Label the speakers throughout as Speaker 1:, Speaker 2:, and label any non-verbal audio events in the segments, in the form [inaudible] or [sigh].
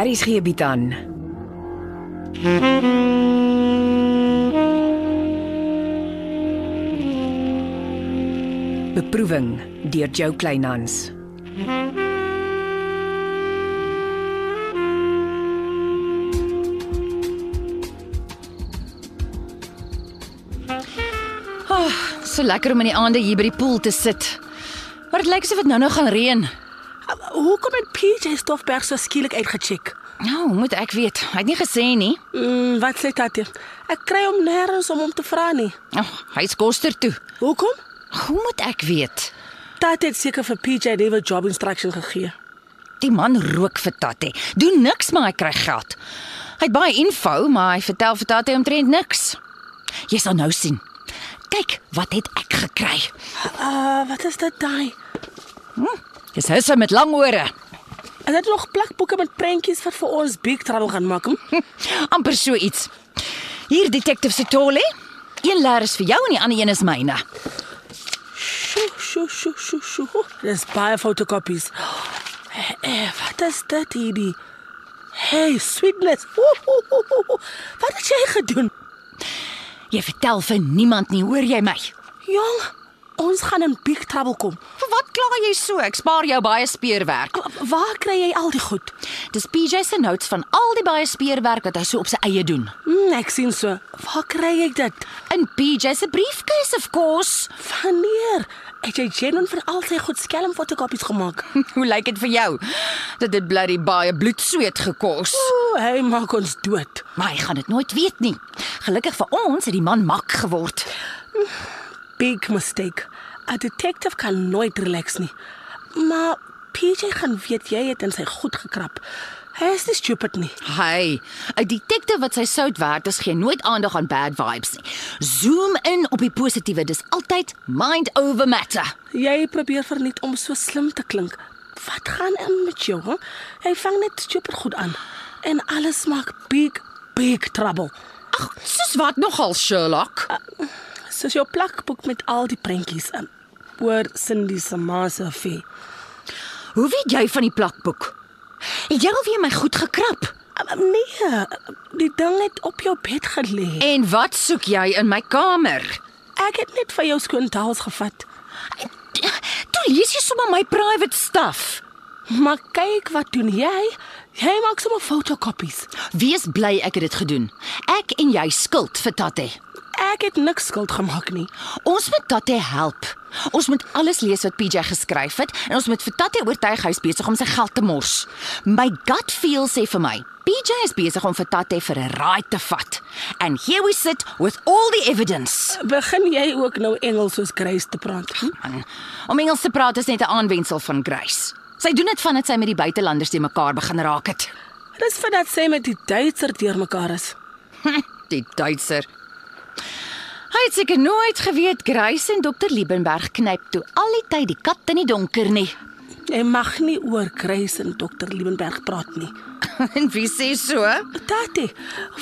Speaker 1: Aries gee bied aan. Beproeving deur Jo Kleinhans.
Speaker 2: So lekker om in die aande hier by die poel te sit. Maar dit lyk asof dit nou-nou Nou, gaan reën.
Speaker 3: Hoekom het PJ Stoffberg so skielik uitgecheck?
Speaker 2: Nou, hoe moet ek weet? Hy het nie gesê nie.
Speaker 3: Mm, wat sê Tatie? Ek kry hom nêrens om hom te vra nie.
Speaker 2: Ag, oh, hy's koster toe.
Speaker 3: Hoekom?
Speaker 2: Hoe moet ek weet?
Speaker 3: Tatie het seker vir PJ nuwe job instruction gegee.
Speaker 2: Die man rook vir Tatte. Doen niks maar hy kry geld. Hy het baie info, maar hy vertel vir Tatte omtrent niks. Jy sal nou sien. Kyk, wat het ek gekry?
Speaker 3: Ah, uh, wat is dit daai?
Speaker 2: Dis husse met lang ore.
Speaker 3: Is dit nog plakboeke met prentjies wat vir ons big trouble gaan maak? Hm?
Speaker 2: amper so iets. Hier detektief Sitole. Een leer is vir jou en die ander een is myne.
Speaker 3: Sjoe, sjoe, sjoe, sjoe, sjoe. Dis baie fotokopies. Eh, eh, wat is dit hierdie? Hey, sweetness. Ooh, ooh, ooh, ooh. Wat het jy gedoen?
Speaker 2: Jy vertel vir niemand nie, hoor jy my?
Speaker 3: Jong, Ja, ons gaan in big trouble kom.
Speaker 2: Vir wat kla jy so? Ek spaar jou baie speurwerk.
Speaker 3: Wa- Waar kry jy al die goed?
Speaker 2: Dis PJ se notes van al die baie speurwerk wat hy so op sy eie doen.
Speaker 3: Hm, ek sien so. Waar kry jy dit?
Speaker 2: In PJ se briefcase of course.
Speaker 3: Wanneer? Het jy Jenon vir al sy goed skelm fotokopies gemaak?
Speaker 2: [laughs] Hoe lyk dit vir jou? Dat dit bly baie bloedsweet gekos.
Speaker 3: Ooh, hy maak ons dood.
Speaker 2: Maar hy gaan dit nooit weet nie. Gelukkig vir ons het die man mak geword.
Speaker 3: Big mistake. 'n Detective kan nooit relax nie. Maar PJ gaan weet jy het in sy goed gekrap. Hy is nie stupid nie.
Speaker 2: Hy, 'n detektief wat sy sout werd is, gee nooit aandag aan bad vibes nie. Zoom in op die positiewe, dis altyd mind over matter.
Speaker 3: Jy probeer verniet om so slim te klink. Wat gaan in met jou? Hè? Hy vang net stupid goed aan en alles maak big big trouble.
Speaker 2: Ag, soos wat nogal Sherlock.
Speaker 3: Soos jou plakboek met al die prentjies in oor Cindy se ma se fee.
Speaker 2: Hoe weet jy van die plakboek? Het jy alweer my goed gekrap?
Speaker 3: Nee, die ding het op jou bed gelê.
Speaker 2: En wat soek jy in my kamer?
Speaker 3: Ek het net vir jou skoontaals gevat.
Speaker 2: Toe lees jy sommer my private stuff.
Speaker 3: Maar kyk wat doen jy? Jy maak sommer fotokopies.
Speaker 2: Wees bly ek het dit gedoen. Ek en jy skuld vir Tatte.
Speaker 3: Ek het niks skuld gemaak nie.
Speaker 2: Ons moet Tatte help. Ons moet alles lees wat PJ geskryf het en ons moet vir Tatte oortuig hy's besig om sy geld te mors. My gut feel sê vir my, PJ is besig om vir Tatte vir 'n raai te vat. And here we sit with all the evidence.
Speaker 3: Begin jy ook nou Engels soos Grace te praat?
Speaker 2: Man, om Engels te praat is net 'n aanwensel van Grace. Sy doen dit vandat sy met die buitelanders te mekaar begin raak het.
Speaker 3: Dis vir dat sy met die Duitser deurmekaar is.
Speaker 2: Die Duitser. Hy het seker nooit geweet Grace en Dr Liebenberg knyp toe al die tyd die kat in die donker nie.
Speaker 3: Jy mag nie oor Grace en Dr. Liebenberg praat nie.
Speaker 2: [laughs] en wie sê so?
Speaker 3: Tatie,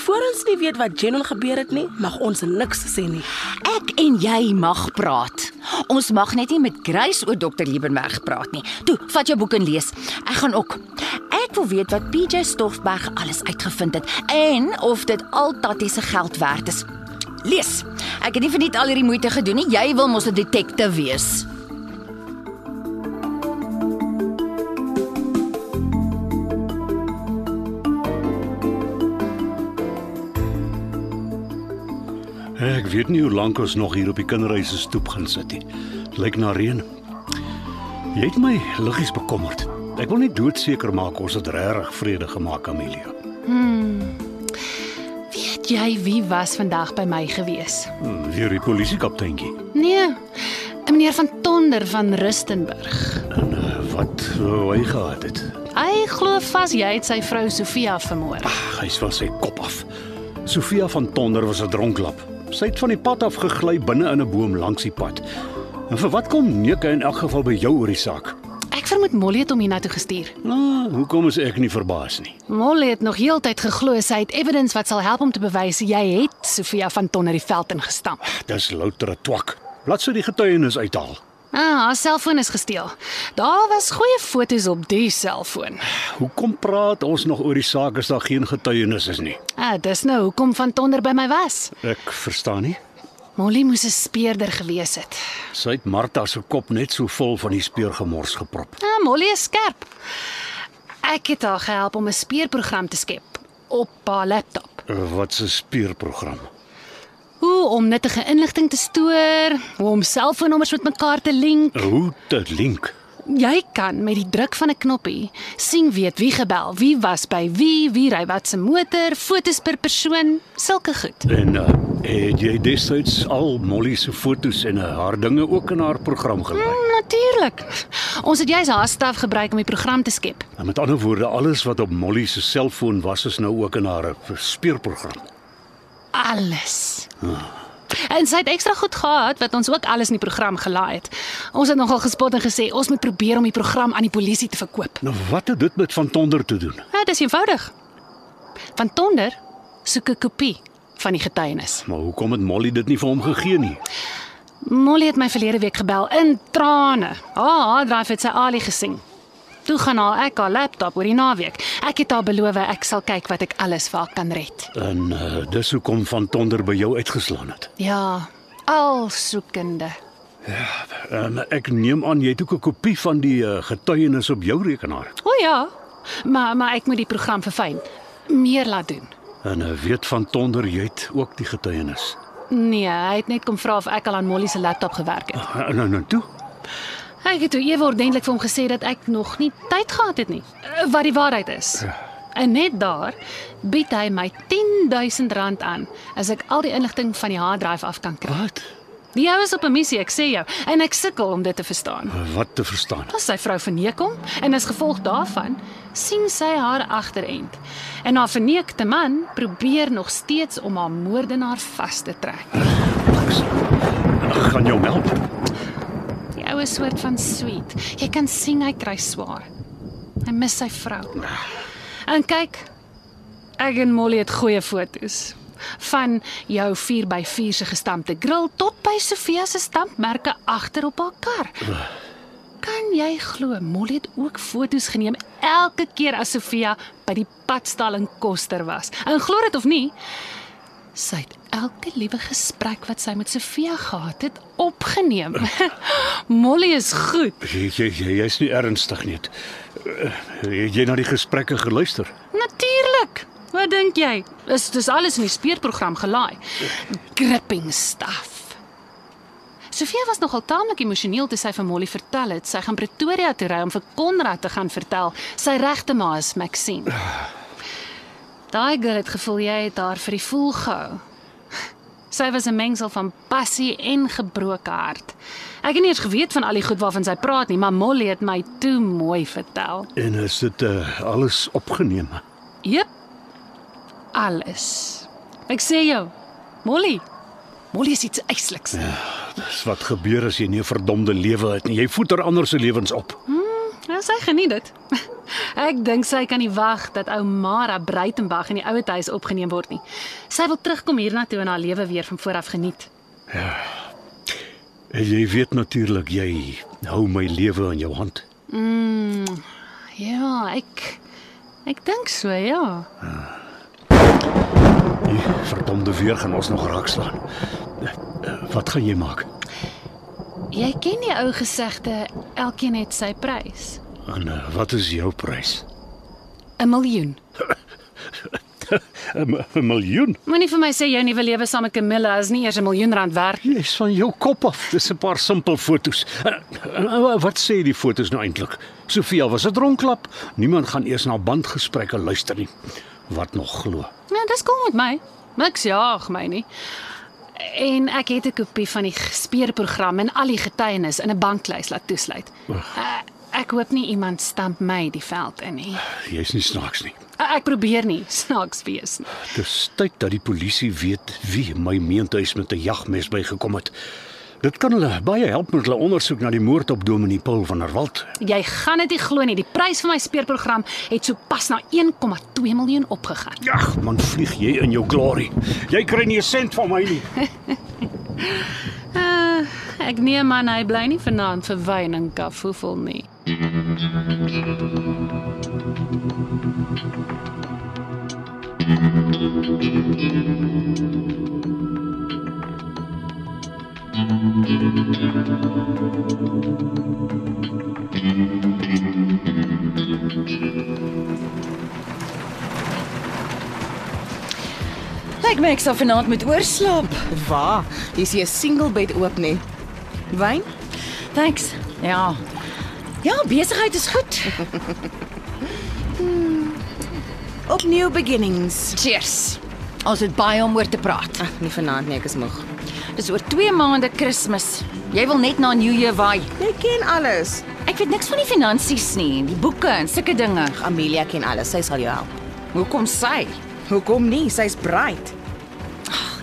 Speaker 3: voor ons nie weet wat Jenon gebeur het nie, mag ons niks sê nie.
Speaker 2: Ek en jy mag praat. Ons mag net nie met Grace oor Dr Liebenberg praat nie. Toe, vat jou boek en lees. Ek gaan ook. Ek wil weet wat PJ Stoffberg alles uitgevind het en of dit al Tattie se geld werd is. Lees. Ek het nie verniet al hierdie moeite gedoen nie. Jy wil mos 'n detektief wees.
Speaker 4: Ek weet nie hoe lank ons nog hier op die kinderhuis se stoep gaan sit nie. Het Lyk na reën. Jy het my liggies bekommerd. Ek wil net doodseker maak ons het regtig vrede gemaak, Amelia.
Speaker 5: Weet jy wie was vandag by my gewees?
Speaker 4: Hmm, Weer die polisiekapteintjie.
Speaker 5: Nee, 'n meneer van Tonder van Rustenburg.
Speaker 4: En uh, wat wou hy gehad het?
Speaker 5: Hy glo vas jy het sy vrou Sofia vermoor.
Speaker 4: Ag, hy was sy kop af. Sofia van Tonder was 'n dronklap. Sy het van die pad af gegly binne in 'n boom langs die pad. En vir wat kom Neke in elk geval by jou oor die saak?
Speaker 5: Ek vermoed Molly het hom hiernatoe gestuur.
Speaker 4: Nou, hoekom is ek nie verbaas nie?
Speaker 5: Molly het nog heeltyd geglo sy het evidence wat sal help om te bewys jy het Sofia van Tonder die veld ingestamp.
Speaker 4: Dis louter 'n twak. Laat sy die getuienis uithaal.
Speaker 5: Ah, haar selfoon is gesteel. Daar was goeie foto's op die selfoon.
Speaker 4: Hoekom praat ons nog oor die saak as daar geen getuienis is nie?
Speaker 5: Ah, dis nou hoekom van Tonder by my was.
Speaker 4: Ek verstaan nie.
Speaker 5: Molly moes 'n speerder gewees het.
Speaker 4: Sy het Martha se kop net so vol van die speurgemors geprop.
Speaker 5: Ah, Molly is skerp. Ek het haar gehelp om 'n speerprogram te skep op haar laptop.
Speaker 4: Eh, Wat 'n speurprogram.
Speaker 5: Hoe om nuttige inligting te stoor, hoe om selfoonnommers met mekaar te link.
Speaker 4: Hoe te link.
Speaker 5: Jy kan met die druk van 'n knoppie sien weet wie gebel, wie was by wie, wie ry wat se motor, fotos per persoon, sulke goed.
Speaker 4: En uh, het jy destyds al Molly se fotos en uh, haar dinge ook in haar program gelei?
Speaker 5: Natuurlik. Ons het juis haar staf gebruik om die program te skep.
Speaker 4: En Nou, met ander woorde, alles wat op Molly se selfoon was is nou ook in haar eh, speurprogram.
Speaker 5: Alles. En sy het ekstra goed gehad wat ons ook alles in die program gelaai het. Ons het nogal gespot en gesê ons moet probeer om die program aan die polisie te verkoop.
Speaker 4: Nou wat het dit met Van Tonder te doen?
Speaker 5: Ja, dis eenvoudig. Van Tonder soek 'n kopie van die getuienis.
Speaker 4: Maar hoekom het Molly dit nie vir hom gegee nie?
Speaker 5: Molly het my verlede week gebel in trane. Haar harddryf het sy Ali gesien. Toe gaan haar ek haar laptop oor die naweek. Ek het haar beloof ek sal kyk wat ek alles vir haar kan red.
Speaker 4: En uh, dis hoekom Van Tonder by jou uitgeslaan het.
Speaker 5: Ja, al soekende.
Speaker 4: Um, ek neem aan jy het ook 'n kopie van die uh, getuienis op jou rekenaar.
Speaker 5: O ja. Maar maar ek moet die program verfyn. Meer laat doen.
Speaker 4: En uh, weet Van Tonder jy het ook die getuienis.
Speaker 5: Nee, hy het net kom vra of ek al aan Molly se laptop gewerk het.
Speaker 4: Uh, nou nou toe.
Speaker 5: Ek het toe ewe ordentlik vir hom gesê dat ek nog nie tyd gehad het nie, eh, wat die waarheid is. En net daar bied hy my R10000 aan as ek al die inligting van die harddryf af kan kry.
Speaker 4: Wat?
Speaker 5: Die ou is op 'n missie, ek sê jou, en ek sukkel om dit te verstaan.
Speaker 4: Uh, wat te verstaan?
Speaker 5: As sy vrou verneek hom en as gevolg daarvan sien sy haar agterend. En haar verneekte man probeer nog steeds om haar moordenaar vas te trek.
Speaker 4: Ek gaan jou help.
Speaker 5: Die oue soort van sweet. Jy kan sien hy kry swaar. Hy mis sy vrou. En kyk, ek en Molly het goeie foto's van jou 4x4 se gestampte grill tot by Sofia se stampmerke agter op haar kar. Kan jy glo Molly het ook foto's geneem elke keer as Sofia by die padstal in Koster was. En glo dit of nie, Sy het elke liewe gesprek wat sy met Sofia gehad het opgeneem. [laughs] Molly is goed.
Speaker 4: Jy jy jy jy's nie ernstig nie. Uh, jy na die gesprekke geluister.
Speaker 5: Natuurlik. Wat dink jy? Is dis alles in die speurprogram gelaai. Gripping stuff. Sofia was nogal taamlik emosioneel toe sy vir Molly vertel het sy gaan Pretoria toe ry om vir Konrad te gaan vertel sy regte ma is Maxine. Daai girl het gevoel jy het haar vir die voel gehou. Sy was 'n mengsel van passie en gebroke hart. Ek het nie eens geweet van al die goed waarvan sy praat nie, maar Molly het my toe mooi vertel.
Speaker 4: En is dit uh, alles opgeneem?
Speaker 5: Jep. Alles. Ek sê jou, Molly. Molly is iets ysliks. Ja.
Speaker 4: Dis wat gebeur as jy nie 'n verdomde lewe het nie. Jy voeter ander se lewens op.
Speaker 5: Nou sy geniet dit. [laughs] Ek dink sy kan nie wag dat ou Mara Breitenberg in die ouete huis opgeneem word nie. Sy wil terugkom hiernatoe en haar lewe weer van voor af geniet.
Speaker 4: En jy weet natuurlik jy hou my lewe in jou hand.
Speaker 5: Ja, ek ek dink so, ja.
Speaker 4: Die verdomde weer gaan ons nog raakslaan. Eh, eh, Wat gaan jy maak?
Speaker 5: Jy ken die ou gesegde, elkeen het sy prys.
Speaker 4: En uh, wat is jou prys?
Speaker 5: 'n Miljoen.
Speaker 4: 'n Miljoen.
Speaker 5: Moenie vir my sê jou nuwe lewe saam met Camilla is nie eers 'n miljoen rand werd.
Speaker 4: Jy's van jou kop af. Dis 'n paar simpel fotos. En, en, en wat sê die fotos nou eintlik? Sofia was 'n dronklap. Niemand gaan eers na bandgesprekke luister nie. Wat nog glo?
Speaker 5: Ja, dis kom met my. Niks jaag my nie. En ek het 'n kopie van die speerprogram en al die getuienis in 'n banklys laat toesluit. Uh, ek hoop nie iemand stamp my die veld in nie.
Speaker 4: Jy's nie snaaks nie.
Speaker 5: Uh, ek probeer nie [laughs] snaaks wees nie.
Speaker 4: Dis tyd dat die polisie weet wie my meentuis met 'n jagmes bygekom het. Dit kan hulle baie help met hulle ondersoek na die moord op Dominee Paul van der Walt.
Speaker 5: Jy gaan dit nie glo nie. Die prys van my speerprogram het sopas na 1,2 miljoen opgegaan.
Speaker 4: Jag, man vlieg jy in jou glorie. Jy kry nie 'n sent van my nie.
Speaker 5: Uh, Ek neem aan hy bly nie vanaand vir wyn en kafoefel nie.
Speaker 2: Lyk my ek sal vanaand moet oorslaap.
Speaker 3: Waar? Hier's hier 'n single bed oop nie. Wyn?
Speaker 2: Thanks. Ja. Ja, besigheid is goed.
Speaker 3: Op new beginnings.
Speaker 2: Cheers. Ons het baie om oor te praat.
Speaker 3: Ag, nie vanaand nie, ek is moeg.
Speaker 2: Dis oor 2 maande Kersfees. Jy wil net na New Year vaai.
Speaker 3: Jy ken alles.
Speaker 2: Ek weet niks van die finansies nie, die boeke en sulke dinge.
Speaker 3: Amelia ken alles. Sy sal jou help.
Speaker 2: Hoekom sy?
Speaker 3: Hoekom nie? Sy's bright.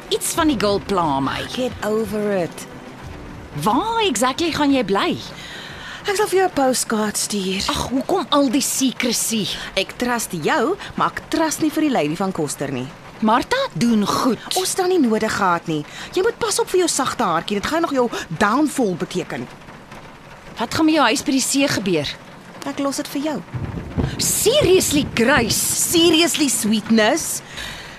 Speaker 2: Iets van die girl pla my.
Speaker 3: Get over it.
Speaker 2: Waar exactly gaan jy bly?
Speaker 3: Ek sal vir jou 'n postkaart stuur.
Speaker 2: Ag, hoekom al die secrecy?
Speaker 3: Ek trust jou, maar ek trust nie vir die lady van Koster nie.
Speaker 2: Martha doen goed.
Speaker 3: Ons staan nie nodig gehad nie. Jy moet pas op vir jou sagte hartjie. Dit gaan nog jou downfall beteken.
Speaker 2: wat gaan met jou huis by die see gebeur?
Speaker 3: Ek los dit vir jou.
Speaker 2: Seriously, Grace.
Speaker 3: Seriously sweetness.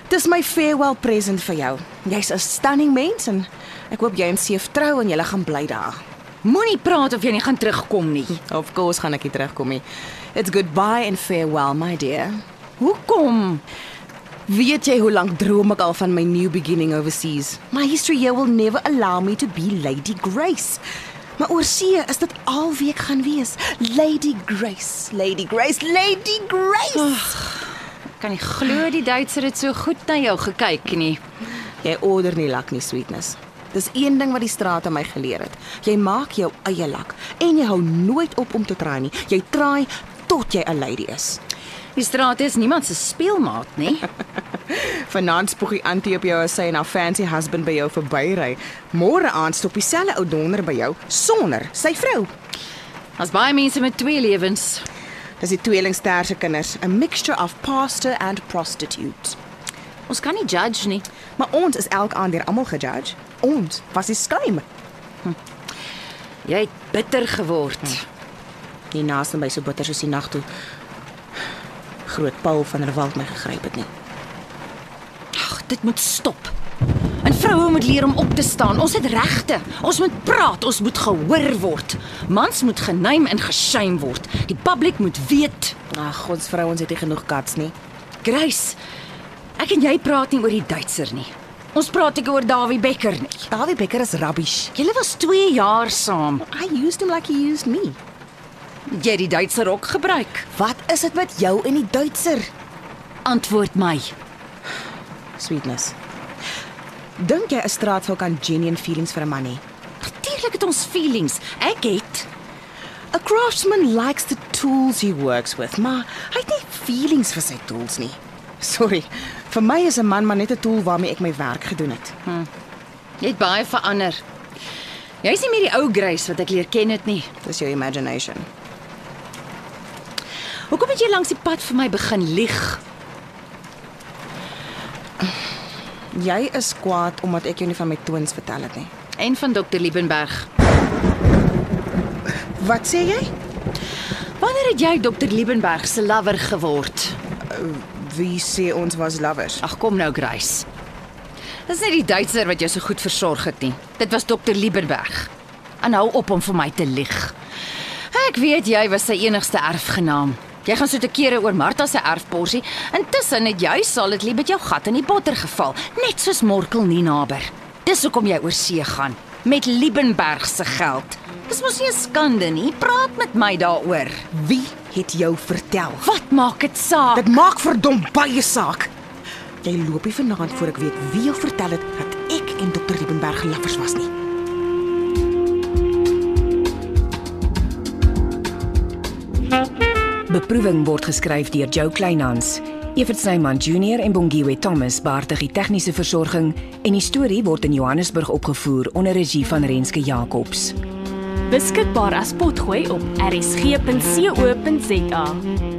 Speaker 3: Dis my farewell present vir jou. Jy's 'n stunning mens en ek hoop jy en Seef trou en julle gaan bly daar.
Speaker 2: Moenie praat of jy nie gaan terugkom nie.
Speaker 3: Of course gaan ek nie terugkom nie. It's goodbye and farewell, my dear.
Speaker 2: Hoekom?
Speaker 3: Weet jy hoe lank droom ek al van my new beginning overseas? My history here will never allow me to be Lady Grace. Maar oor see is dit al wie ek gaan wees. Lady Grace, Lady Grace, Lady Grace.
Speaker 2: Kan nie glo die Duitser het so goed na jou gekyk nie.
Speaker 3: Jy order nie lak nie, sweetness. Dis een ding wat die straat aan my geleer het. Jy maak jou eie lak en jy hou nooit op om te traai nie. Jy traai tot jy 'n lady is.
Speaker 2: Die straat is niemand se speelmaat nie.
Speaker 3: Vanaand spoeg die antie op jou as sy en haar fancy husband by jou verbyry. Môre aand stop dieselfde ou donder by jou sonder sy vrou.
Speaker 2: Daar's baie mense met twee lewens.
Speaker 3: Dis die tweelingster se kinders, 'n mixture of pastor and prostitute.
Speaker 2: Ons kan nie judge nie.
Speaker 3: Maar ons is elk aan deur almal gejudge. Ons was die skuim.
Speaker 2: Hm. Jy het bitter geword.
Speaker 3: Hm. Die naas en my so bitter soos die nag toe groot Paul van der Walt my gegryp het nie.
Speaker 2: Ag, dit moet stop. En vroue moet leer om op te staan. Ons het regte. Ons moet praat, ons moet gehoor word. Mans moet geneem en geskem word. Die publiek moet weet.
Speaker 3: Ag, ons vrouens het nie genoeg kats nie.
Speaker 2: Grace, ek en jy praat nie oor die Duitser nie. Ons praat ek oor Dawie Becker nie.
Speaker 3: Dawie Becker is rubbish.
Speaker 2: Julle was 2 jaar saam.
Speaker 3: I used him like he used me.
Speaker 2: Jy het die Duitser ook gebruik.
Speaker 3: Wat is dit met jou en die Duitser?
Speaker 2: Antwoord my.
Speaker 3: Sweetness. Dink jy 'n straatvou kan genuine feelings vir 'n man hê?
Speaker 2: Natuurlik het ons feelings. Ek het
Speaker 3: A craftsman likes the tools he works with, maar hy het nie feelings vir sy tools nie. Sorry. Vir my is 'n man maar net 'n tool waarmee ek my werk gedoen het.
Speaker 2: Jy het baie verander. Jy's nie meer die ou Grace wat ek leer ken het nie.
Speaker 3: Dis jou imagination.
Speaker 2: Hoekom het jy langs die pad vir my begin lieg?
Speaker 3: Jy is kwaad omdat ek jou nie van my toons vertel het nie.
Speaker 2: En van dokter Liebenberg.
Speaker 3: Wat sê jy?
Speaker 2: Wanneer het jy dokter Liebenberg se lover geword?
Speaker 3: Wie sê ons was lovers?
Speaker 2: Ag kom nou, Grace. Dis nie die Duitser wat jou so goed versorg het nie. Dit was dokter Liebenberg. Aanhou op om vir my te lieg. Ek weet jy was sy enigste erfgenaam. Jy gaan so te kere oor Martha se erfporsie. Intussen het jy sal dit lief met jou gat in die botter geval, net soos Morkel nie naber. Dis hoekom jy oor see gaan met Liebenberg se geld. Dis mos nie 'n skande nie. Praat met my daaroor.
Speaker 3: Wie het jou vertel?
Speaker 2: Wat maak dit saak?
Speaker 3: Dit maak verdom baie saak. Jy loop hier vanaand voor ek weet wie jou vertel het dat ek en dokter Liebenberg lovers was nie.
Speaker 1: Beproeving word geskryf deur Jo Kleinhans. Evert Snyman Junior en Bongwe Thomas baartig die tegniese versorging en die storie word in Johannesburg opgevoer onder regie van Renske Jacobs.
Speaker 6: beskikbaar as potgooi op rsg.co.za.